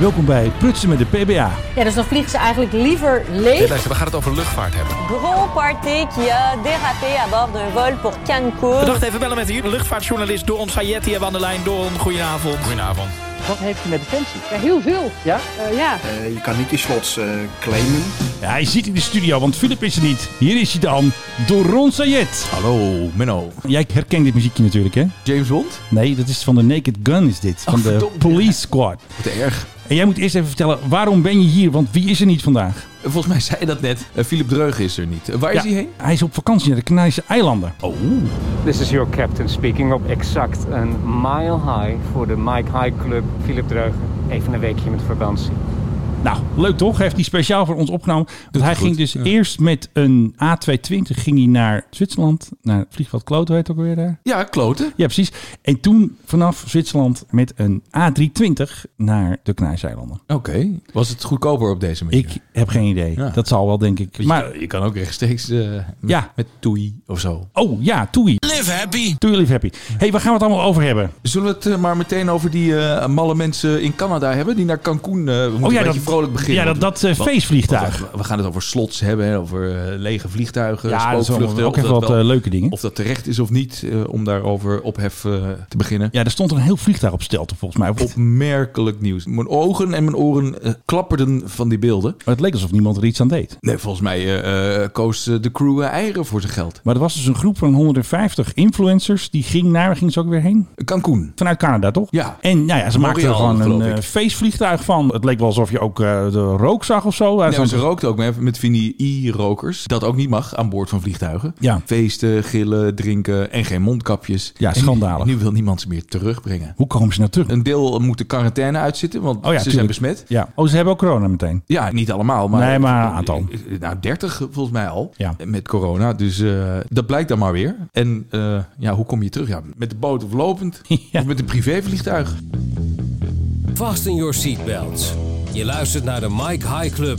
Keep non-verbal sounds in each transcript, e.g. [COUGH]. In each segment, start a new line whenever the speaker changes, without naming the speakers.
Welkom bij Prutsen met de PBA.
Ja, dus dan vliegen ze eigenlijk liever
Hey,
leeg.
luister, we gaan het over luchtvaart hebben.
Gros party qui a dérapé à bord d'un vol pour
We
Cancun.
dachten even bellen met de luchtvaartjournalist Doron Fayetti hebben we aan de lijn. Doron, goedenavond.
Goedenavond.
Wat heeft hij met detentie?
Ja, heel veel.
Ja?
Eh, ja.
Eh, je kan niet die slots eh, claimen.
Ja, hij zit in de studio, want Philip is er niet. Hier is hij dan, Doron Sayed.
Hallo, Menno.
Jij herkent dit muziekje natuurlijk, hè?
James Bond?
Nee, dat is van de Naked Gun, is dit. Van de
verdomd,
Police Squad.
Wat erg.
En jij moet eerst even vertellen, waarom ben je hier? Want wie is er niet vandaag?
Volgens mij zei je dat net. Eh, Philip Dreug is er niet. Eh, waar is
Ja,
hij heen?
Hij is op vakantie naar de Canarische eilanden. Oh.
This is your captain speaking op exact een mile high voor de Mike High Club Philip Dreugen. Even een weekje met vakantie.
Nou, leuk toch? Hij heeft die speciaal voor ons opgenomen. Want hij
goed,
ging dus
ja.
eerst met een A220 ging hij naar Zwitserland. Naar het vliegveld Kloten heet het ook weer daar.
Ja, kloten.
Ja, precies. En toen vanaf Zwitserland met een A320 naar de Knaaseilanden.
Oké. Was het goedkoper op deze manier?
Ik heb geen idee.
Ja.
Dat zal wel, denk ik.
maar
Maar
je kan ook rechtstreeks eh, met,
Ja.
met Toei of zo.
oh ja, Toei.
Live happy.
Toei Live Happy. hey, waar gaan we het allemaal over hebben?
Zullen we het eh, maar meteen over die eh, malle mensen in Canada hebben die naar Cancun eh, we
ja,
moeten een beetje
dat-
vrolijk beginnen?
ja, dat-
Want-
dat, eh,
want-
feestvliegtuig.
want We, we gaan het over slots hebben, hè, over eh, lege vliegtuigen,
Ja, dat is
spookvluchten.
allemaal ook
of
even
dat
wat
wel-
eh, leuke dingen.
Of dat terecht is of niet, eh, om daarover ophef eh, te beginnen.
Ja, er stond een heel vliegtuig op stelte volgens mij. Of-
Opmerkelijk nieuws. Mijn ogen en mijn oren eh, klapperden van die beelden.
Maar het leek alsof niemand er iets aan deed.
Nee, volgens mij eh, eh, koos eh, de crew eh, eieren voor zijn geld.
Maar er was dus een groep van 150 influencers. Die ging naar, waar ging ze ook weer heen?
Cancun.
Vanuit Canada, toch?
Ja.
En nou ja, ze maakten er
Montreal,
gewoon een
geloof
eh,
ik.
feestvliegtuig van. Het leek wel alsof je ook eh, de rook zag of zo. Daar
Nee,
zo'n-
maar ze rookten ook met, met VNI-rokers. Dat ook niet mag aan boord van vliegtuigen.
Ja.
Feesten, gillen, drinken en geen mondkapjes.
Ja,
En
schandalig.
nu wil niemand ze meer terugbrengen.
Hoe komen ze nou terug?
Een deel moet de quarantaine uitzitten, want
ja,
ze zijn
tuurlijk.
besmet.
Ja. Oh, ze hebben ook corona meteen.
Ja, niet allemaal, maar...
Nee, maar een aantal.
Eh, eh, Nou, 30 volgens mij al.
Ja.
Met corona. Dus eh, dat blijkt dan maar weer. En eh, ja, hoe kom je terug? Ja, met de boot of lopend.
[LAUGHS] Ja.
Of met een privévliegtuig.
Fasten your seatbelts. Je luistert naar de Mike High Club.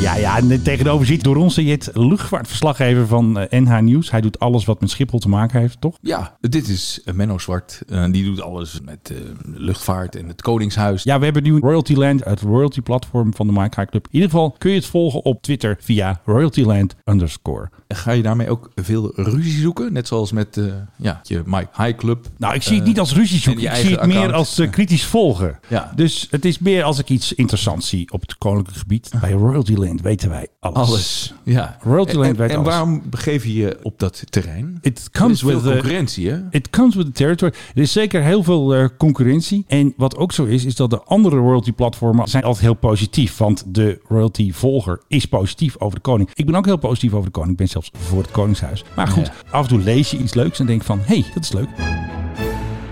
Ja, ja, en tegenover zit door ons Jet, luchtvaartverslaggever van eh, NH Nieuws. Hij doet alles wat met Schiphol te maken heeft, toch?
Ja, dit is eh, Menno Zwart. Eh, die doet alles met eh, luchtvaart en het Koningshuis.
Ja, we hebben nu Royaltyland, het Royalty platform van de Mike High Club. In ieder geval kun je het volgen op Twitter via Royaltyland underscore.
Ga je daarmee ook veel ruzie zoeken? Net zoals met eh, ja, je Mike High Club.
Nou, ik zie het niet als ruzie zoeken.
en je
Ik zie het
eigen
meer
account.
als eh, kritisch volgen.
Ja.
Dus het is meer als ik iets interessants zie op het koninklijk gebied. Bij Royaltyland weten wij alles.
Alles. Ja.
Royaltyland
en, en,
weet
en
alles.
waarom begeef je je op dat terrein?
It
Er
comes
is veel
with eh, the-
concurrentie, hè?
It comes with the territory. Er is zeker heel veel eh, concurrentie. En wat ook zo is, is dat de andere royalty-platformen zijn altijd heel positief. Want de royalty-volger is positief over de koning. Ik ben ook heel positief over de koning. Ik ben zelfs voor het koningshuis. Maar goed, af en toe lees je iets leuks en denk van... hé, hey, dat is leuk.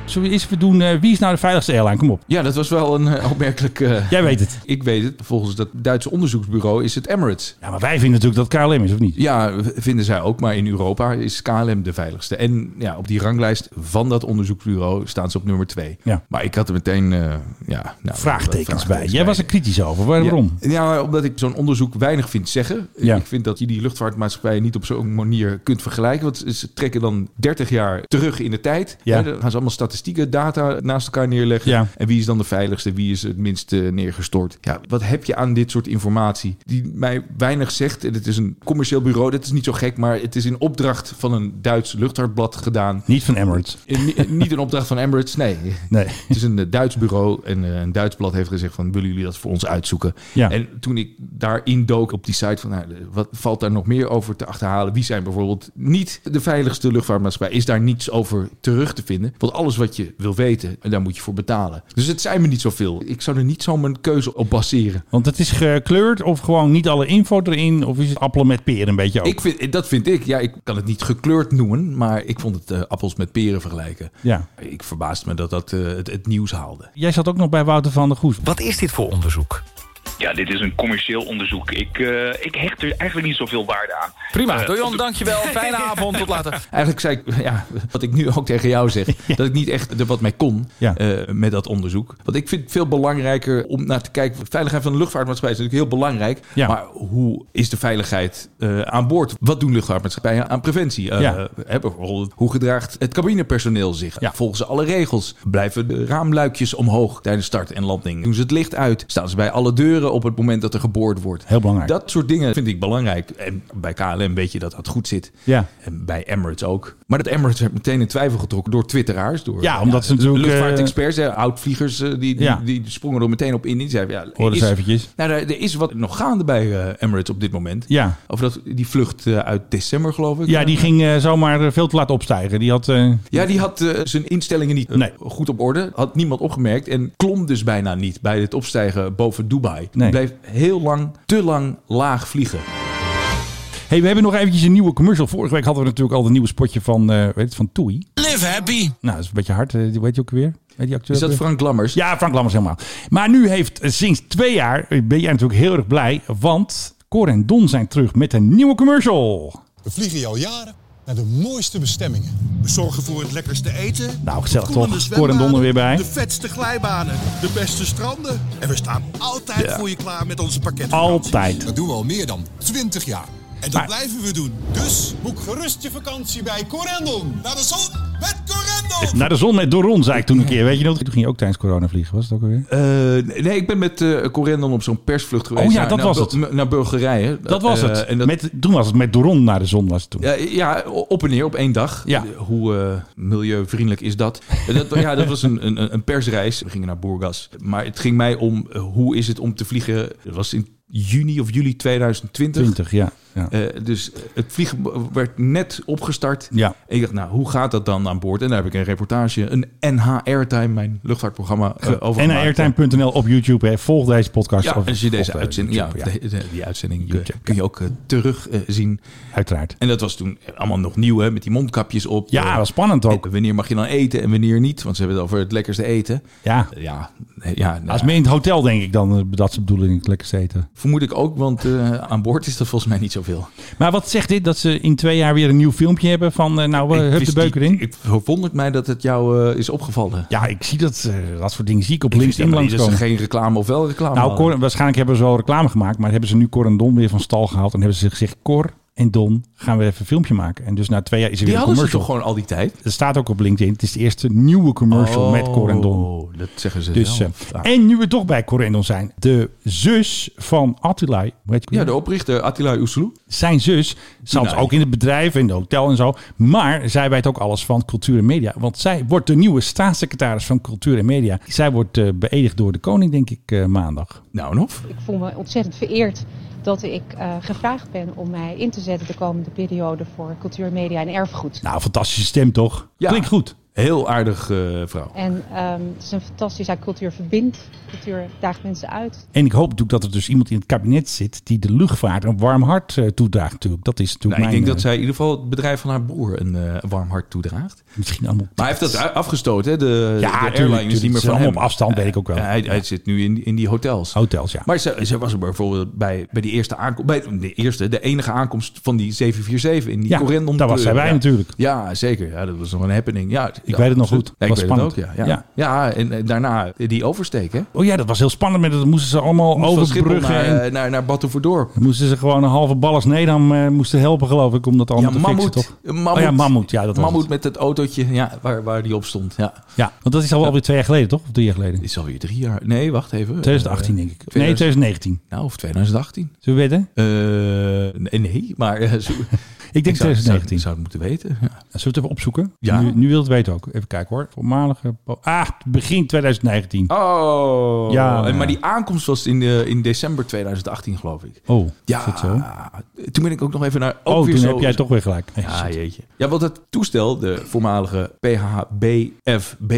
Zullen we eens even doen... eh, wie is nou de veiligste airline? Kom op.
Ja, dat was wel een eh, opmerkelijk... eh,
Jij weet het.
Ik weet het, volgens dat Duitse onderzoeksbureau is het Emirates.
Ja, maar wij vinden natuurlijk dat KLM is, of niet?
Ja, v- vinden zij ook, maar in Europa is KLM de veiligste. En ja, op die ranglijst van dat onderzoeksbureau staan ze op nummer twee.
Ja.
Maar ik had er meteen eh, ja, nou,
Vraagtekens bij. Jij was er kritisch over. Waarom?
Ja, ja, omdat ik zo'n onderzoek weinig vind zeggen.
Ja.
Ik vind dat je die luchtvaartmaatschappijen niet op zo'n manier kunt vergelijken. Want ze trekken dan 30 jaar terug in de tijd.
Ja.
Hè, Dan gaan ze allemaal statistieken, data naast elkaar neerleggen.
Ja.
En wie is dan de veiligste? Wie is het minst eh, neergestort? Ja, wat heb je aan dit soort informatie die mij weinig zegt? En het is een commercieel bureau, dat is niet zo gek. Maar het is in opdracht van een Duits luchtvaartblad gedaan.
Niet van Emirates.
In- in- [LAUGHS] niet in opdracht van Emirates, nee.
Nee.
Het is een eh, Duits bureau en eh, een Duits blad heeft gezegd van willen jullie dat voor ons uitzoeken?
Ja.
En toen ik daarin dook op die site van nou, wat valt daar nog meer over te achterhalen? Wie zijn bijvoorbeeld niet de veiligste luchtvaartmaatschappij? Is daar niets over terug te vinden? Want alles wat je wil weten, eh, daar moet je voor betalen. Dus het zijn me niet zoveel. Ik zou er niet zo mijn keuze op baseren.
Want het is gekleurd of gewoon niet alle info erin? Of is het appelen met peren een beetje ook?
Ik vind, dat vind ik. Ja, ik kan het niet gekleurd noemen, maar ik vond het eh, appels met peren vergelijken.
Ja.
Ik verbaasde me dat dat eh, het, het nieuws haalde.
Jij zat ook nog bij Wouter van der Goes.
Wat is dit voor onderzoek? Ja, dit is een commercieel onderzoek. Ik, eh, ik hecht er eigenlijk niet zoveel waarde aan. Eh,
Prima.
[LAUGHS]
Dojon, dankjewel. Fijne avond. Tot later.
Eigenlijk zei ik, ja, wat ik nu ook tegen jou
[LAUGHS]
zeg, dat ik niet echt er wat mee kon
Ja.
eh, met dat onderzoek. Want ik vind het veel belangrijker om naar te kijken. Veiligheid van de luchtvaartmaatschappij is natuurlijk heel belangrijk.
Ja.
Maar hoe is de veiligheid eh, aan boord? Wat doen luchtvaartmaatschappijen aan preventie? Eh,
Ja.
hè, bijvoorbeeld, hoe gedraagt het cabinepersoneel zich?
Ja.
Volgen ze alle regels? Blijven de raamluikjes omhoog tijdens start en landing? Doen ze het licht uit? Staan ze bij alle deuren op het moment dat er geboord wordt?
Heel belangrijk.
Dat soort dingen vind ik belangrijk. En bij KLM weet je dat dat goed zit.
Ja.
En bij Emirates ook. Maar dat Emirates werd meteen in twijfel getrokken door twitteraars. Door,
Ja, omdat ze natuurlijk, eh,
Luchtvaartexperts, hè, oudvliegers, eh, die, die,
Ja.
die sprongen er meteen op in. Die zeiden, ja,
Hoor eens
is-
eventjes.
Nou, er, er is wat nog gaande bij eh, Emirates op dit moment.
Ja.
Of dat, die vlucht eh, uit december, geloof ik.
Ja, die ging eh, zomaar eh, veel te laat opstijgen. Die had... eh,
Ja, die had eh, zijn instellingen niet eh,
Nee.
goed op orde. Had niemand opgemerkt. En klom dus bijna niet bij het opstijgen boven Dubai.
Nee.
Bleef heel lang, te lang laag vliegen.
Hey, we hebben nog eventjes een nieuwe commercial. Vorige week hadden we natuurlijk al het nieuwe spotje van, eh weet het, van Toei.
Live happy.
Nou, dat is een beetje hard. eh, Die weet je ook weer. Weet die acteur
Is
ook
dat
weer?
Frank Lammers?
Ja, Frank Lammers helemaal. Maar nu heeft eh, sinds twee jaar, eh, ben jij natuurlijk heel erg blij, want Cor en Don zijn terug met een nieuwe commercial.
We vliegen hier al jaren naar de mooiste bestemmingen.
We zorgen voor het lekkerste eten.
Nou, gezellig
Koelende
toch?
zwembaden,
Cor en Don er weer bij.
De vetste glijbanen. De beste stranden. En we staan altijd
Ja.
voor je klaar met onze pakket.
Altijd.
Dat doen we al meer dan 20 jaar. En dat
Maar-
blijven we doen. Dus boek gerust je vakantie bij Corendon. Naar de zon met Corendon!
Naar de zon met Doron, zei ik toen een keer. Weet je nog? Toen ging je ook tijdens corona vliegen, was het ook alweer?
Eh, nee, ik ben met eh Corendon op zo'n persvlucht geweest.
Oh ja,
naar-
dat
naar,
was
Bul- Naar Bulgarije.
Dat was
Eh,
het.
en dat-
Met, toen was het met Doron naar de zon, was het toen.
ja, ja, op en neer, op één dag.
Ja.
Eh, Hoe eh, milieuvriendelijk is dat? Eh, dat [LAUGHS] ja, dat was een, een, een persreis. We gingen naar Burgas. Maar het ging mij om eh, hoe is het om te vliegen. Dat was in juni of juli 2020.
20, ja. ja.
Eh, dus het vliegen b- werd net opgestart.
Ja.
En ik dacht, nou, hoe gaat dat dan aan boord? En daar heb ik een reportage, een NH Airtime, mijn luchtvaartprogramma, eh, over
en
gemaakt.
airtime.nl op YouTube. Hè. Volg deze podcast.
Ja,
of-
en als je
volg
deze uitzending, eh, ja,
YouTube,
de- de- die uitzending eh,
YouTube,
kun je ook terugzien.
Uiteraard.
en dat was toen allemaal nog nieuw, hè, met die mondkapjes op.
Ja,
Eh,
was spannend ook.
en Wanneer mag je dan eten en wanneer niet? Want ze hebben het over het lekkerste eten.
Ja.
Eh, Ja, eh, ja nou,
Als meer in het hotel, denk ik dan, eh, dat ze bedoelen in het lekkerste eten.
vermoed ik ook, want eh, aan boord is dat volgens mij niet zoveel.
Maar wat zegt dit? Dat ze in twee jaar weer een nieuw filmpje hebben van, eh, nou, we
Ik
hup de
wist
beuker
niet-
in.
Ik verwondert mij dat het jou eh, is opgevallen.
ja, ik zie dat, eh, dat soort dingen zie ik op
Ik wist
LinkedIn
helemaal niet dat
langskomen.
ze geen reclame of wel reclame
Nou,
hadden.
Cor, waarschijnlijk hebben ze wel reclame gemaakt, maar hebben ze nu Cor en Don weer van stal gehaald. En hebben ze gezegd, Cor en Don, gaan we even een filmpje maken. En dus na twee jaar is er
die
weer een
hadden ze
commercial.
toch gewoon al die tijd?
Er staat ook op LinkedIn, het is de eerste nieuwe commercial met Cor en Don.
Oh, dat zeggen ze
Dus,
zelf.
eh,
Ah.
en nu we toch bij Corendon zijn. De zus van Attila, weet je,
Ja, de oprichter Attila Oesloe.
zijn zus, zelfs
Nee.
ook in het bedrijf, in het hotel en zo. Maar zij weet ook alles van cultuur en media. Want zij wordt de nieuwe staatssecretaris van cultuur en media. Zij wordt eh, beëdigd door de koning, denk ik, eh, maandag.
Nou, en of?
Ik voel me ontzettend vereerd dat ik eh, gevraagd ben om mij in te zetten de komende periode voor cultuur, media en erfgoed.
Nou, fantastische stem toch?
Ja.
Klinkt goed.
Heel aardig eh, vrouw.
En ehm, het is een fantastische ja, cultuur verbindt. Cultuur daagt mensen uit.
En ik hoop natuurlijk dat er dus iemand in het kabinet zit die de luchtvaart een warm hart eh, toedraagt natuurlijk. Dat is natuurlijk
Nou, ik
mijn...
denk dat
eh,
zij in ieder geval het bedrijf van haar broer een eh, warm hart toedraagt.
Misschien allemaal...
Maar hij heeft dat u- afgestoten, hè? De,
Ja,
de airline
tuurlijk,
is
tuurlijk.
niet
Ze
meer
zijn
van
allemaal
hem.
op afstand, weet ik ook wel. Oh.
Eh, hij hij zit nu in, in die hotels.
Hotels, ja.
Maar ze, ze was er bijvoorbeeld bij, bij die eerste aankomst, bij de eerste, de enige aankomst van die 747 in die
Ja,
Corendon.
daar was zij bij
ja.
natuurlijk.
Ja, zeker. Ja, dat was nog een happening. Ja, ik
weet het nog goed.
Ja,
Was
ik weet
spannend.
het ook, ja. Ja,
Ja.
ja. en, en daarna eh, die oversteek, hè?
Oh ja, dat was heel spannend. maar Dat moesten ze allemaal
Van Schiphol
overbruggen.
naar,
en-
eh, naar, naar Batuverdorp.
Moesten ze gewoon een halve ballers Nedam eh, moesten helpen, geloof ik, om dat allemaal
Ja,
te
Mammoet.
fixen, toch?
Mammoet.
Oh ja, Mammoet. Ja, dat was
Mammoet
het.
met het autootje ja, waar, waar die op stond. Ja.
Ja, want dat is al wel weer twee jaar geleden, toch? Of drie jaar geleden?
Dit is alweer drie jaar. Nee, wacht even.
2018, denk ik.
Eh,
Nee,
2000
2019.
Nou, of 2018.
Zullen we wedden?
Eh, nee, nee, maar eh, zo-
[LAUGHS] Ik denk
zou, zou,
2019.
zou het moeten weten. Ja.
Nou, Zullen we het even opzoeken?
Ja.
Nu, nu wil het weten ook. Even kijken hoor. Voormalige... po- Ah, begin 2019.
Oh,
Ja.
ja, maar die aankomst was in, de, in december 2018, geloof ik.
Oh,
Ja,
is dat zo?
toen ben ik ook nog even naar. Ook
Oh,
weer
toen
zo-
heb jij toch weer gelijk.
Ja, jeetje. Ja, want het toestel, de voormalige PHBFB,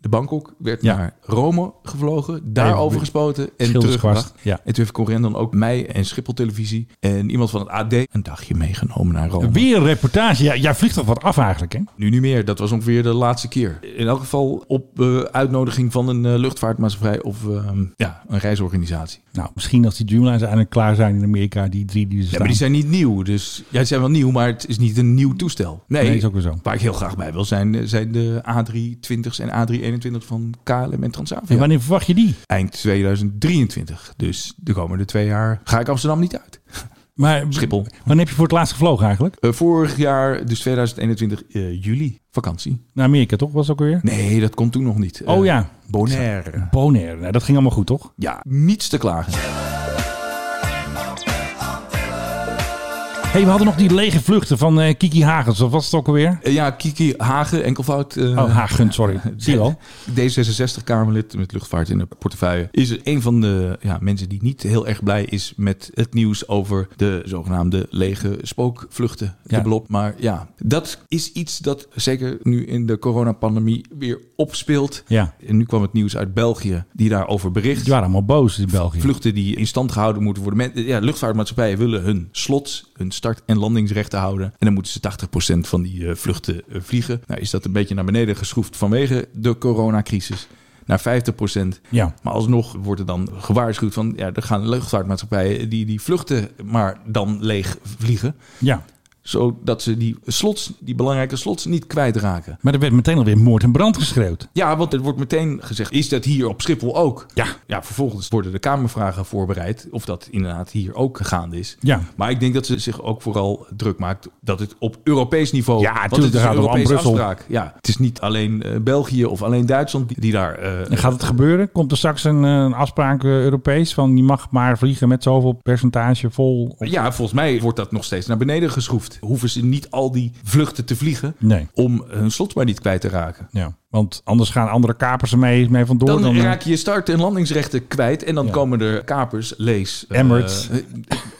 de Bangkok, werd
Ja.
naar Rome gevlogen, daarover
Even-
gespoten en
Schilderskwast,
teruggebracht.
ja.
En toen heeft Corendon ook mij en Schiphol Televisie en iemand van het AD een dagje meegenomen naar Rome.
Weer een reportage. Ja, jij vliegt toch wat af eigenlijk, hè?
Nu niet meer, dat was ongeveer de laatste keer. In elk geval op eh, uitnodiging van een eh, luchtvaartmaatschappij of ehm, ja, een reisorganisatie.
Nou, misschien als die Dreamliners eindelijk klaar zijn in Amerika, die drie die er
Ja,
staan.
maar die zijn niet nieuw. Dus ja, die zijn wel nieuw, maar het is niet een nieuw toestel. Nee,
Nee, is ook weer zo.
Waar ik heel graag bij wil zijn, eh, zijn de A320's en A321 van KLM en Transavia.
En wanneer verwacht je die?
Eind 2023. Dus de komende twee jaar ga ik Amsterdam niet uit.
Maar
Schiphol.
Wanneer heb je voor het laatst gevlogen eigenlijk?
Eh, vorig jaar, dus 2021, eh, juli, vakantie.
Naar Amerika toch? Was het ook weer?
Nee, dat kon toen nog niet. Eh,
Oh ja.
Bonaire.
Bonaire. Nou, dat ging allemaal goed, toch?
Ja, niets te klagen.
hey, we hadden nog die lege vluchten van eh, Kiki Hagens. Wat was het ook alweer?
Eh, ja, Kiki Hagen, enkelvoud. eh,
Oh, Hagen, sorry. Zie je wel.
D66-Kamerlid met luchtvaart in de portefeuille. Is een van de ja, mensen die niet heel erg blij is met het nieuws over de zogenaamde lege spookvluchten.
Ja.
De blop. Maar ja, dat is iets dat zeker nu in de coronapandemie weer opspeelt.
Ja.
En nu kwam het nieuws uit België die daarover bericht.
Die waren allemaal boos in België.
Vluchten die in stand gehouden moeten worden. Men- Ja, luchtvaartmaatschappijen willen hun slots, hun start- en landingsrechten houden. En dan moeten ze 80% van die eh, vluchten eh, vliegen. Nou is dat een beetje naar beneden geschroefd vanwege de coronacrisis. Naar 50%.
Ja.
Maar alsnog wordt er dan gewaarschuwd van... ja, er gaan luchtvaartmaatschappijen die die vluchten maar dan leeg vliegen.
Ja.
Zodat ze die slots, die belangrijke slots, niet kwijtraken.
Maar er werd meteen alweer moord en brand geschreeuwd.
Ja, want het wordt meteen gezegd, is dat hier op Schiphol ook?
Ja.
Ja, vervolgens worden de Kamervragen voorbereid of dat inderdaad hier ook gaande is.
Ja.
Maar ik denk dat ze zich ook vooral druk maakt dat het op Europees niveau...
Ja,
want
tuurlijk,
het is
daar
een
gaat het om,
Europese
Brussel.
afspraak. Ja, het is niet alleen eh, België of alleen Duitsland die, die daar... eh,
En gaat het gebeuren? Komt er straks een, eh, een afspraak eh, Europees van je mag maar vliegen met zoveel percentage vol?
eh, ja, volgens mij wordt dat nog steeds naar beneden geschroefd. Hoeven ze niet al die vluchten te vliegen
Nee.
om hun slot maar niet kwijt te raken.
Ja. Want anders gaan andere kapers ermee mee vandoor.
Dan,
eh,
raak je je start- en landingsrechten kwijt. En dan
Ja.
komen er kapers, lees. eh,
Emirates.
eh,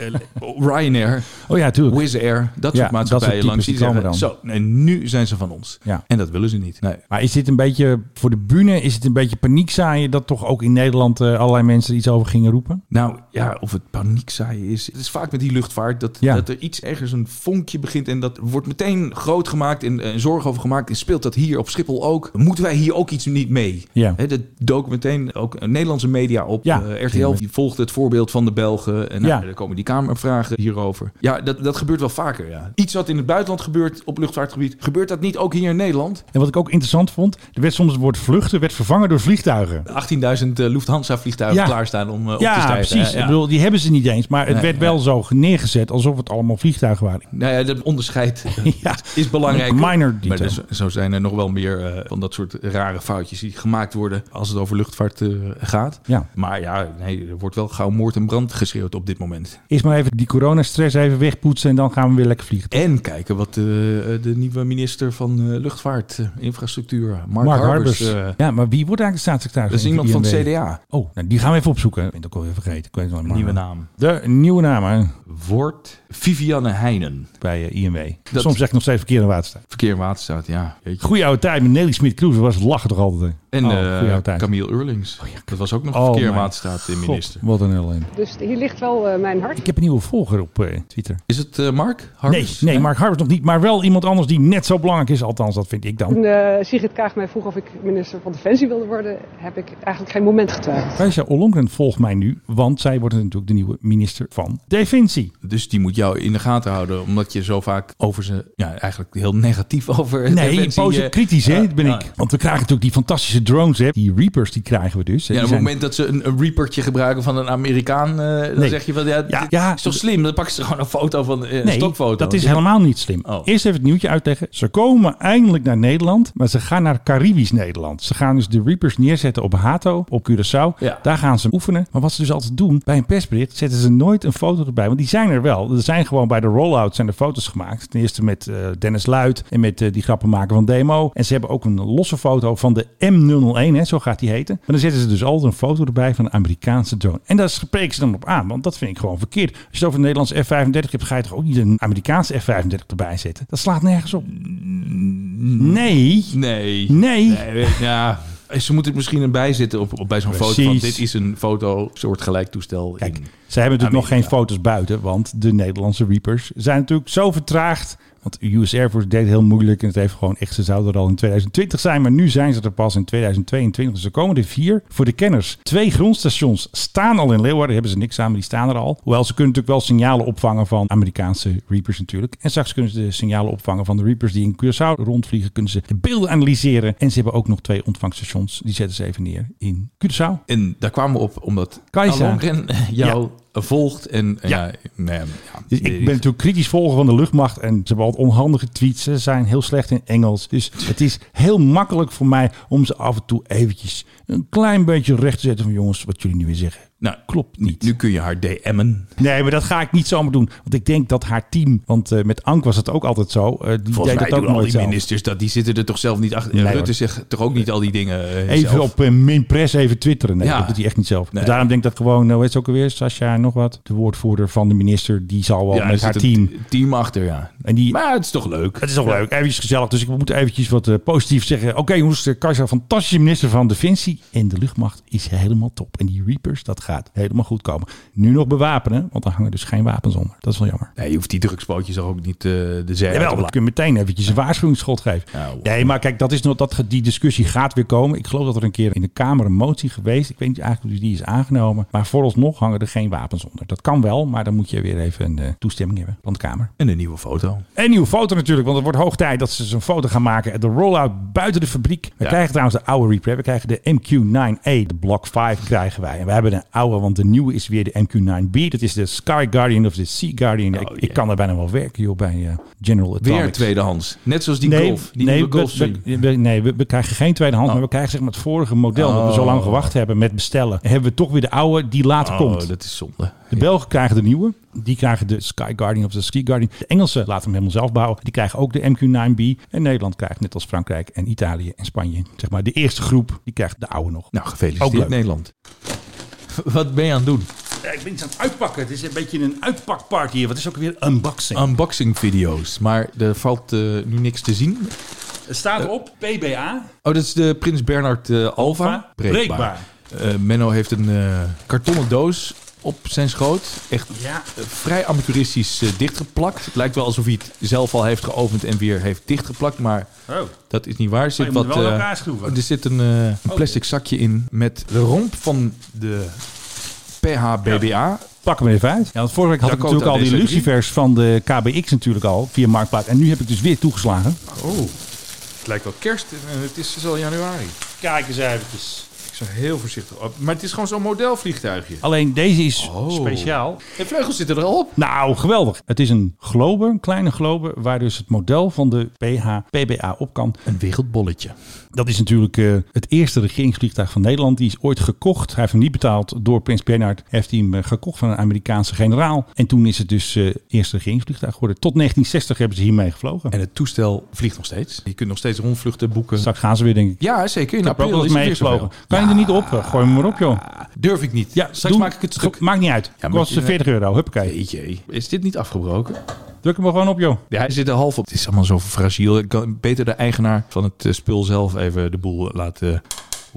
eh, Ryanair,
Oh ja, tuurlijk.
Wizz Air. Dat
Ja,
soort maatschappijen
dat soort
langs. Die
types die
zeggen,
komen
zo, nee, nu zijn ze van ons.
Ja.
En dat willen ze niet. Nee.
Maar is dit een beetje voor de bühne, is het een beetje paniekzaaien dat toch ook in Nederland eh, allerlei mensen er iets over gingen roepen?
Nou ja, of het paniek saai is. Het is vaak met die luchtvaart dat,
Ja.
dat er iets ergens een vonkje begint. En dat wordt meteen groot gemaakt en eh, zorg over gemaakt. En speelt dat hier op Schiphol ook? Moeten wij hier ook iets niet mee?
Ja.
Hè, dat dook meteen ook eh, Nederlandse media op.
Ja.
Eh, RTL die volgt het voorbeeld van de Belgen. En
Ja.
nou, er komen die Kamervragen hierover. Ja, dat, dat gebeurt wel vaker. Ja. Iets wat in het buitenland gebeurt op luchtvaartgebied, gebeurt dat niet ook hier in Nederland?
En wat ik ook interessant vond, er werd soms het woord vluchten werd vervangen door vliegtuigen.
18.000 eh, Lufthansa-vliegtuigen
Ja.
klaarstaan om eh, op te
ja,
stijgen.
precies.
Ja.
Ik bedoel, die hebben ze niet eens, maar het
Nee,
werd wel zo neergezet alsof het allemaal vliegtuigen waren.
Nou ja, dat onderscheid
[LAUGHS]
eh,
Ja.
is belangrijk.
Een minor detail.
maar dus- zo zijn er nog wel meer eh, van dat soort rare foutjes die gemaakt worden als het over luchtvaart eh, gaat.
Ja.
Maar ja, nee, er wordt wel gauw moord en brand geschreeuwd op dit moment.
Eerst maar even die coronastress even wegpoetsen en dan gaan we weer lekker vliegen.
En kijken wat eh, de nieuwe minister van eh, luchtvaart, eh, infrastructuur, Mark, Harbers... eh,
ja, maar wie wordt eigenlijk de staatssecretaris?
dat is iemand van het CDA.
Oh, nou, die gaan we even opzoeken. Ik ben het ook alweer vergeten. Ik weet het wel, maar-
Nieuwe naam.
De nieuwe naam hè,
Wordt Vivianne Heijnen.
bij eh, INW.
Dat-
Soms zeg ik nog steeds verkeerde en waterstaat.
Verkeer en Waterstaat, ja. Jeetje.
Goeie oude tijd met Nelly Smit-Kroes. was lachen toch altijd. hè?
En
Oh,
eh,
goeie oude tijd.
Camille Eurlings. Dat was ook nog
Oh,
Verkeer en
mijn
Waterstaat eh,
God,
minister.
wat een ellende.
Dus hier ligt wel mijn hart.
Ik heb een nieuwe volger op eh, Twitter.
Is het eh, Mark
Nee,
Harbers?
nee, Mark Harbers nog niet. Maar wel iemand anders die net zo belangrijk is. Althans, dat vind ik dan.
eh, Sigrid Kaag mij vroeg of ik minister van Defensie wilde worden, heb ik eigenlijk geen moment getwijfeld.
Kajsa Ollongren volgt mij nu. Want zij wordt natuurlijk de nieuwe minister van Defensie.
Dus die moet jou in de gaten houden, omdat je zo vaak over ze, ja, eigenlijk heel negatief over.
Nee,
defensie,
posit
eh,
kritisch hè,
ja,
dat ben
ja.
ik. Want we krijgen natuurlijk die fantastische drones hè. Die Reapers, die krijgen we dus.
Ja,
Die
op het
zijn-
moment dat ze een, een reapertje gebruiken van een Amerikaan, eh, dan
Nee.
zeg je van ja,
Ja,
dit
ja.
is toch slim? Dan pakken ze gewoon een foto van eh, een
Nee,
stokfoto.
dat is helemaal niet slim.
Oh.
Eerst even het nieuwtje uitleggen. Ze komen eindelijk naar Nederland, maar ze gaan naar Caribisch Nederland. Ze gaan dus de Reapers neerzetten op Hato, op Curaçao.
Ja.
Daar gaan ze oefenen. Maar wat ze dus altijd doen, bij een persbericht zetten ze nooit een foto erbij. Want die zijn er wel. Er zijn gewoon bij de rollout zijn er foto's gemaakt. Ten eerste met eh, Dennis Luit en met eh, die grappenmaker van Demo. En ze hebben ook een losse foto van de M001, hè, zo gaat die heten. Maar dan zetten ze dus altijd een foto erbij van een Amerikaanse drone. En daar spreken ze dan op aan, want dat vind ik gewoon verkeerd. Als je het over een Nederlandse F-35 hebt, ga je toch ook niet een Amerikaanse F-35 erbij zetten? Dat slaat nergens op. Nee.
Nee.
Nee.
nee. Ja, Ze moeten het misschien een bijzetten op, op, bij zo'n foto. Van,
Precies.
dit is een foto, soort gelijk toestel.
Kijk,
in-
ze hebben natuurlijk nog geen
Amerika.
foto's buiten, want de Nederlandse Reapers zijn natuurlijk zo vertraagd. Want de US Air Force deed het heel moeilijk en het heeft gewoon echt, ze zouden er al in 2020 zijn, maar nu zijn ze er pas in 2022. Dus er komen er vier. Voor de kenners, twee grondstations staan al in Leeuwarden, daar hebben ze niks aan, maar die staan er al. Hoewel ze kunnen natuurlijk wel signalen opvangen van Amerikaanse Reapers natuurlijk. En straks kunnen ze de signalen opvangen van de Reapers die in Curaçao rondvliegen, kunnen ze de beelden analyseren. En ze hebben ook nog twee ontvangstations, die zetten ze even neer in Curaçao.
En daar kwamen we op omdat
Kajsa.
Alongren jou eh, volgt. En, en
Ja.
ja. nou ja, ja,
Dus ik ben natuurlijk kritisch volger van de luchtmacht. En ze hebben altijd onhandige tweets. Ze zijn heel slecht in Engels. Dus het is heel makkelijk voor mij om ze af en toe eventjes een klein beetje recht te zetten. Van jongens, wat jullie nu weer zeggen.
nou,
Klopt niet.
Nu kun je haar DM'en.
Nee, maar dat ga ik niet zomaar doen. Want ik denk dat haar team, want eh, met Ank was het ook altijd zo. eh, die
Volgens
deed
mij
dat ook
doen al
nooit
die
zelf.
ministers dat. Die zitten er toch zelf niet achter.
Nee,
Rutte
hoor.
zegt toch ook niet al die dingen eh,
Even
zelf?
op eh, Minpress even twitteren. Nee,
Ja.
dat doet hij echt niet zelf.
Nee.
Dus daarom denk ik dat gewoon, nou weet je ook alweer, Sascha nog wat. De woordvoerder van de minister, die zal wel
Ja, er
met
zit
haar
een
team.
t- team achter, ja.
En die
Maar het is toch leuk.
Het is toch leuk, even gezellig. Dus ik moet eventjes wat eh, positief zeggen. Oké jongens, eh, Kajsa, fantastische minister van Defensie. En de luchtmacht is helemaal top. En die Reapers, dat gaat helemaal goed komen. Nu nog bewapenen, want er hangen dus geen wapens onder. Dat is wel jammer.
Nee, je hoeft die drugsbootjes ook niet eh, de zee uit
Jawel,
te
dat
blazen.
kun je meteen eventjes een waarschuwingsschot geven.
Nou,
nee, maar kijk, dat is nog, dat, ge- die discussie gaat weer komen. Ik geloof dat er een keer in de Kamer een motie geweest. Ik weet niet eigenlijk of die is aangenomen. Maar vooralsnog hangen er geen wapens onder. Dat kan wel, maar dan moet je weer even een eh, toestemming hebben van de Kamer.
En een nieuwe foto.
En nieuwe foto natuurlijk, want het wordt hoog tijd dat ze eens een foto gaan maken. De rollout buiten de fabriek. We
Ja.
krijgen trouwens de oude reprep. We krijgen de MQ-9A, de Block 5 krijgen wij. En we hebben een oude, want de nieuwe is weer de MQ-9B. Dat is de Sky Guardian of de Sea Guardian. ik,
Oh,
ik kan er bijna wel werken, joh, bij eh, General Atomics.
Weer tweedehands. Net zoals die
Nee,
golf. Die
nee,
nieuwe golf.
we, we- we- nee we, we krijgen geen tweedehand, maar we krijgen zeg maar het vorige model dat we zo lang
Oh.
gewacht hebben met bestellen. Hebben we toch weer de oude die later komt.
oh, dat is zonde.
De Belgen krijgen de nieuwe. Die krijgen de Sky Guardian of de Ski Guardian. De Engelsen laten hem helemaal zelf bouwen. Die krijgen ook de MQ-9B. En Nederland krijgt, net als Frankrijk en Italië en Spanje, zeg maar de eerste groep, die krijgt de oude nog.
Nou,
Ook
gefeliciteerd
leuk.
Nederland. Wat ben je aan het doen?
ik ben iets aan het uitpakken. Het is een beetje een uitpakparty hier. Wat is ook weer unboxing?
Unboxing video's. Maar er valt eh, nu niks te zien.
het staat op PBA.
Oh, dat is de Prins Bernhard eh, Alva.
Alva. Breekbaar.
Eh, Menno heeft een eh, kartonnen doos op zijn schoot. Echt
Ja.
eh, vrij amateuristisch eh, dichtgeplakt. Het lijkt wel alsof hij het zelf al heeft geopend en weer heeft dichtgeplakt. Maar
Oh.
dat is niet waar. Er zit
Maar je moet
wat,
wel
eh,
elkaar schroeven.
er zit een eh, een plastic zakje in met de romp van de PHBBA.
Pak hem even uit. Ja, want vorige week had
Dakota
ik natuurlijk al die
DC3.
lucifers van de KBX natuurlijk al, via Marktplaats. En nu heb ik dus weer toegeslagen.
Oh, het lijkt wel kerst en het is dus al januari.
Kijk eens eventjes.
Ik zou heel voorzichtig op. Maar het is gewoon zo'n modelvliegtuigje.
Alleen deze is
Oh.
speciaal.
De vleugels zitten er al op.
Nou, geweldig. Het is een globe, een kleine globe, waar dus het model van de PH-PBA op kan.
Een wereldbolletje.
Dat is natuurlijk eh, het eerste regeringsvliegtuig van Nederland. Die is ooit gekocht. Hij heeft hem niet betaald door Prins Bernhard. Hij heeft hij hem eh, gekocht van een Amerikaanse generaal. En toen is het dus eh eerste regeringsvliegtuig geworden. Tot 1960 hebben ze hiermee gevlogen.
En
En
het toestel vliegt nog steeds. Je kunt nog steeds rondvluchten, boeken.
straks gaan ze weer, denk ik.
Ja, zeker. In
Ik heb er ook
april
wel
is
eens
het
mee
weer
gevlogen.
zoveel.
Kan je er niet op? Eh, Gooi hem maar op, joh.
Durf ik niet. Ja, straks
doe-
maak ik het stuk.
Maakt niet uit.
maar
Kost
je-
40 euro. Huppakee.
Jeetje, is dit niet afgebroken?
Druk hem maar gewoon op, joh.
Ja, hij zit er half op. Het is allemaal zo fragiel. Ik kan beter de eigenaar van het eh, spul zelf even de boel laten...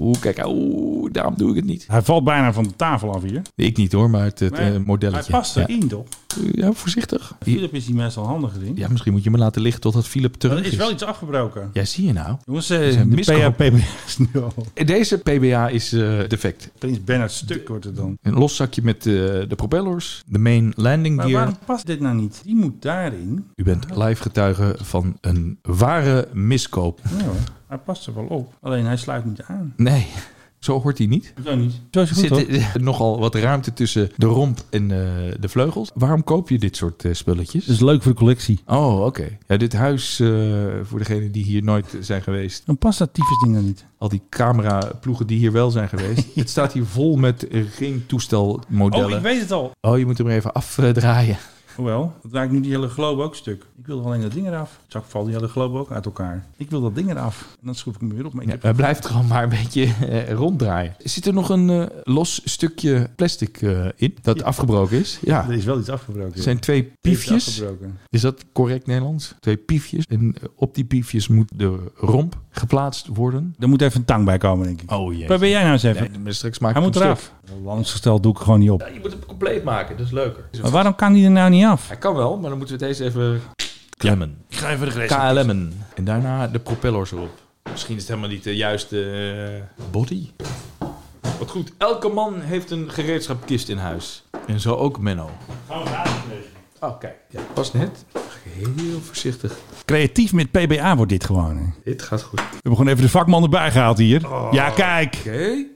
Oeh, kijk, oeh, daarom doe ik het niet.
Hij valt bijna van de tafel af hier.
Ik niet hoor, maar het, het eh,
Hij
modelletje.
past
Ja.
erin, toch?
Ja, voorzichtig.
Philip is die mensen al handiger in.
Ja, misschien moet je me laten liggen totdat Philip terug
Er
is.
is wel iets afgebroken.
Ja, zie je nou.
Jongens, eh,
zijn
de
misgelopen.
PHP [LAUGHS] is nu al.
Deze PBA is eh, defect.
Prins Bernhard stuk wordt het dan.
Een los zakje met eh, de propellers, de main landing
Maar
gear.
waarom past dit nou niet? Die moet daarin.
U bent live getuige van een ware miskoop.
Ja hoor, hij past er wel op. Alleen hij sluit niet aan.
Nee, zo hoort hij niet.
Zo niet. Zo is
Er
het goed,
zit
hoor.
eh, nogal wat ruimte tussen de romp en eh, de vleugels. Waarom koop je dit soort eh, spulletjes?
is leuk voor de collectie.
Oh, oké. Ja, dit huis, eh, voor degenen die hier nooit zijn geweest,
Dan past dat tyfusding dan niet.
al die cameraploegen die hier wel zijn
[LAUGHS]
geweest. Het staat hier vol met ringtoestelmodellen.
weet het al.
Oh, je moet hem er even afdraaien.
Hoewel, dat raakt nu die hele globe ook stuk. Ik wilde alleen dat ding eraf. Zag valt die hele globe ook uit elkaar. Ik wil dat ding eraf. En dan schroef ik hem weer op. Maar ik
Ja,
heb-
hij blijft gewoon maar een beetje eh, ronddraaien. Zit er nog een eh, los stukje plastic eh, in dat afgebroken is? Ja.
Er is wel iets afgebroken.
Het zijn twee
Er is iets
piefjes.
afgebroken.
Is dat correct Nederlands? Twee piefjes. En eh, op die piefjes moet de romp geplaatst worden.
Er moet even een tang bij komen, denk ik.
Oh jee.
Waar ben jij nou eens even?
Nee, maar straks maak ik
Hij moet
hem
eraf.
stuk.
Landsgesteld doe ik gewoon niet op.
Ja, je moet hem compleet maken, dat is leuker.
Maar waarom kan die er nou niet af?
Hij kan wel, maar dan moeten we deze even klemmen.
Ik ga even de rest.
KLM'en. En daarna de propellers erop. Misschien is het helemaal niet de juiste eh, body. Wat goed, elke man heeft een gereedschapkist in huis. En zo ook Menno. Oh, kijk. Ja, pas net. Heel voorzichtig.
Creatief met PBA wordt dit gewoon. hè.
Dit gaat goed. Oké.
We hebben gewoon even de vakman erbij gehaald hier. ja, kijk.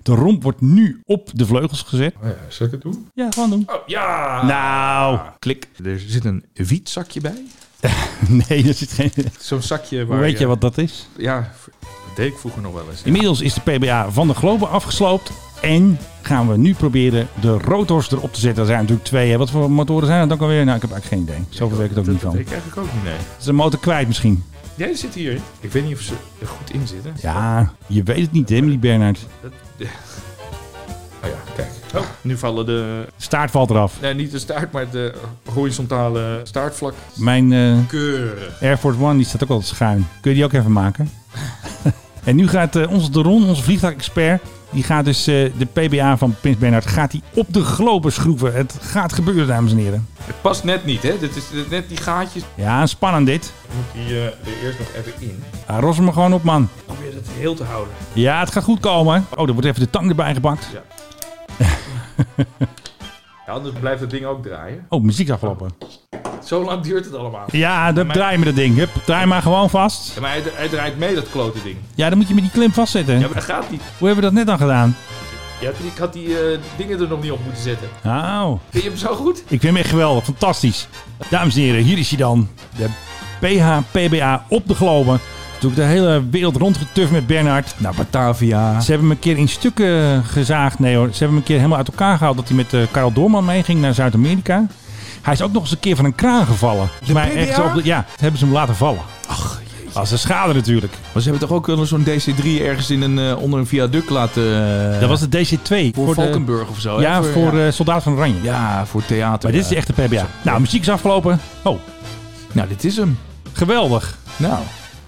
De romp wordt nu op de vleugels gezet.
Oh ja, zal ik het doen?
Ja, gewoon doen.
Oh, ja!
Nou, [LAUGHS]
Klik. Er zit een wietzakje bij.
nee, er zit geen...
Zo'n zakje waar
Hoe weet je wat dat is?
Ja, dat deed ik vroeger nog wel eens.
Inmiddels is de PBA van de globe afgesloopt. En gaan we nu proberen de rotors erop te zetten. Er zijn natuurlijk twee. hè. Wat voor motoren zijn dat ook alweer? Nou, ik heb eigenlijk geen idee. Zoveel weet ik het ook niet
Dat
van.
deed ik eigenlijk ook niet, nee.
Is de motor kwijt misschien?
Jij zit hier. Ik weet niet of ze er goed in zitten.
Ja, je weet het niet, Emily Bernhard.
Oh ja, kijk. Oh, nu vallen de...
Staart valt eraf.
Nee, niet de staart, maar de horizontale staartvlak.
Mijn eh,
Keurig.
Air Force One die staat ook altijd schuin. Kun je die ook even maken? [LAUGHS] en nu gaat eh, onze Deron, onze vliegtuigexpert... Die gaat dus eh, de PBA van Prins Bernhard gaat die op de globe schroeven. Het gaat gebeuren, dames en heren.
Het past net niet, hè? Dit is dit- net die gaatjes.
Ja, spannend dit.
Moet die eh, er eerst nog even in.
Ah, Ros hem er gewoon op, man.
Probeer het heel te houden.
Ja, het gaat goed komen. Oh, er wordt even de tang erbij gepakt.
Ja. Ja, anders blijft het ding ook draaien.
Oh, muziek is afgelopen.
Zo lang duurt het allemaal.
Ja, dan draai maar dat ding. Hup, draai maar gewoon vast.
Ja, maar hij, hij draait mee, dat klote ding.
Ja, dan moet je met die klim vastzetten.
Ja, maar dat gaat niet.
Hoe hebben we dat net dan gedaan?
Ja, ik had die eh, dingen er nog niet op moeten zetten.
Nou,
Vind je hem zo goed?
ik vind hem echt geweldig. Fantastisch. Dames en heren, hier is hij dan. De PH-PBA op de globe. Toen ik de hele wereld rondgetuf met Bernard.
Nou, Batavia.
Ze hebben hem een keer in stukken gezaagd. Nee hoor, ze hebben hem een keer helemaal uit elkaar gehaald. Dat hij met eh Karel Doorman meeging naar Zuid-Amerika. Hij is ook nog eens een keer van een kraan gevallen. Volgens mij echt zo op de- ja, dat hebben ze hem laten vallen. Ach, Als een schade natuurlijk.
Maar ze hebben toch ook wel zo'n DC-3 ergens in een, eh, onder een viaduct laten... eh,
Dat was de DC-2.
voor,
de-
Valkenburg of zo. hè?
ja, voor eh Soldaat van Oranje.
ja, voor theater.
Maar dit is de
ja.
echte PBA. Nou, muziek is afgelopen. Oh,
Nou, dit is hem.
geweldig.
Nou,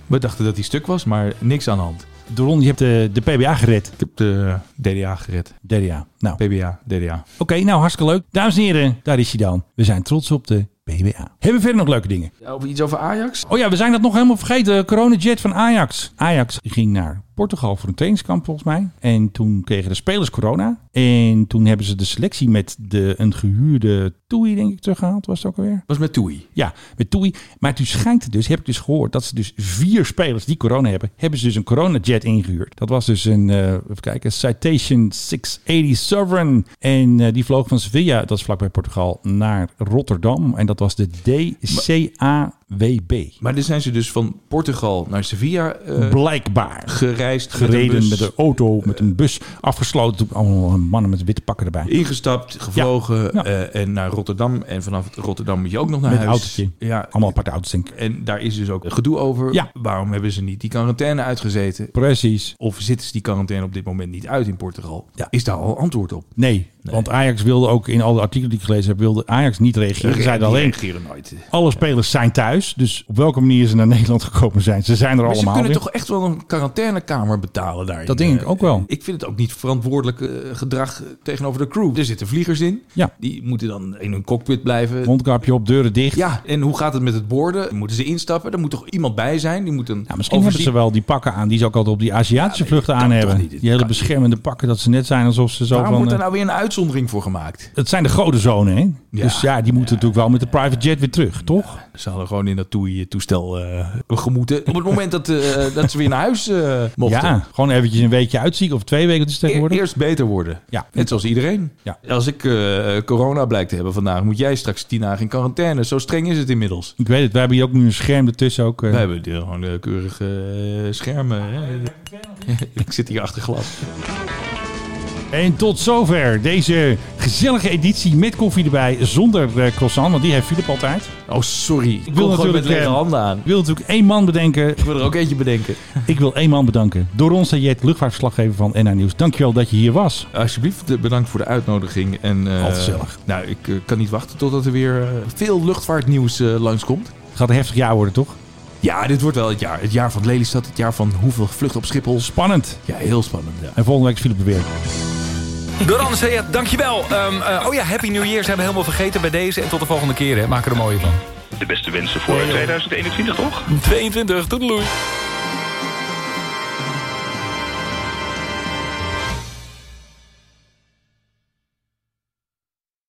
we dachten dat hij stuk was, maar niks aan de hand.
Doron, je hebt de, de PBA gered.
Ik heb de DDA gered.
DDA. Nou, oké.
PBA, DDA.
nou, hartstikke leuk. Dames en heren, daar is hij dan. We zijn trots op de PBA. Hebben we verder nog leuke dingen?
Over iets over Ajax?
Oh ja, we zijn dat nog helemaal vergeten. Coronajet van Ajax. Ajax ging naar Portugal voor een trainingskamp volgens mij. En toen kregen de spelers corona. En toen hebben ze de selectie met de, een gehuurde Toei, denk ik, teruggehaald. Was het ook alweer?
was met Toei.
Ja, met Toei. Maar toen schijnt het dus, heb ik dus gehoord, dat ze dus vier spelers die corona hebben, hebben ze dus een coronajet ingehuurd. Dat was dus een, eh, even kijken, Citation 680 Sovereign. En eh, die vloog van Sevilla, dat is vlakbij Portugal, naar Rotterdam. En dat was de DCAWB.
Maar dan zijn ze dus van Portugal naar Sevilla eh,
Blijkbaar.
gereisd. met een
Gereden
bus,
met een auto, met een bus, afgesloten. Allemaal mannen met witte pakken erbij.
Ingestapt, gevlogen
Ja.
eh, en naar Rotterdam. En vanaf Rotterdam moet je ook nog naar
Met een
huis.
autootje.
Ja,
Allemaal aparte auto's, denk ik.
en daar is dus ook gedoe over.
Ja.
Waarom hebben ze niet die quarantaine uitgezeten?
Precies.
Of zitten ze die quarantaine op dit moment niet uit in Portugal?
Ja.
Is daar al antwoord op?
Nee, want Ajax wilde ook in al de artikelen die ik gelezen heb, wilde Ajax niet reageren. Ze zeiden
Die
alleen,
reageren nooit. Maar
Alle spelers zijn thuis. Dus op welke manier ze naar [LAUGHS] Nederland gekomen zijn, ze zijn er
ze
allemaal.
kunnen
weer.
toch echt wel een quarantainekamer betalen daarin?
Dat denk ik
Eh,
ook wel.
Ik vind het ook niet verantwoordelijk eh, gedrag eh, tegenover de crew. Er zitten vliegers in.
Ja.
Die moeten dan in hun cockpit blijven.
Mondkapje op, deuren dicht.
Ja, en hoe gaat het met het borden? Moeten ze instappen? Er moet toch iemand bij zijn? Die moet een
Nou, misschien hebben ze wel die pakken aan die ze ook altijd op die Aziatische
Ja, nee,
vluchten
dat
aan
kan
hebben.
toch niet? Dit
die hele
kan
beschermende pakken dat ze net zijn alsof ze zo
Waarom
van...
wordt er
eh,
nou weer een uitzondering voor gemaakt?
Het zijn de godenzonen, hè?
Ja.
Dus ja, die moeten natuurlijk wel met de private jet weer terug, toch?
Ze hadden gewoon in dat toei- toestel eh gemoeten. Op het moment dat, eh, dat ze weer naar huis eh, mochten.
Ja, gewoon eventjes een weekje uitzieken of twee weken dus
E-
tegenwoordig.
Eerst beter worden.
Ja.
Net zoals iedereen.
Ja.
Als ik eh, corona blijkt te hebben vandaag, moet jij straks tien dagen in quarantaine. Zo streng is het inmiddels.
Ik weet het, we hebben hier ook nu een scherm ertussen ook. eh.
We hebben hier gewoon eh,
[LAUGHS]
keurige eh, schermen. hè. ik zit hier achter glas.
En tot zover deze gezellige editie met koffie erbij, zonder eh, croissant, want die heeft Filip altijd.
Oh, sorry.
wil
Ik wil gewoon met
natuurlijk,
lege
eh,
handen aan.
Ik wil natuurlijk één man bedenken.
Ik wil er ook eentje bedenken.
Ik wil één man bedanken. Doron Sayed, luchtvaartverslaggever van NH Nieuws. Dankjewel dat je hier was.
Alsjeblieft, eh, bedankt voor de uitnodiging. En, eh,
Altijd gezellig.
Nou, ik eh, kan niet wachten totdat er weer eh, veel luchtvaartnieuws eh, langskomt.
Het gaat een heftig jaar worden, toch?
Ja, dit wordt wel het jaar. Het jaar van Lelystad, het jaar van hoeveel vluchten op Schiphol.
Spannend.
Ja, heel spannend. Ja.
En volgende week is Filip er weer.
Doran Sayed, dankjewel. Ehm, eh, oh ja, Happy New Year zijn we helemaal vergeten bij deze. En tot de volgende keer, hè. Maak er een mooie van.
De beste wensen voor 2021, toch?
22, doei.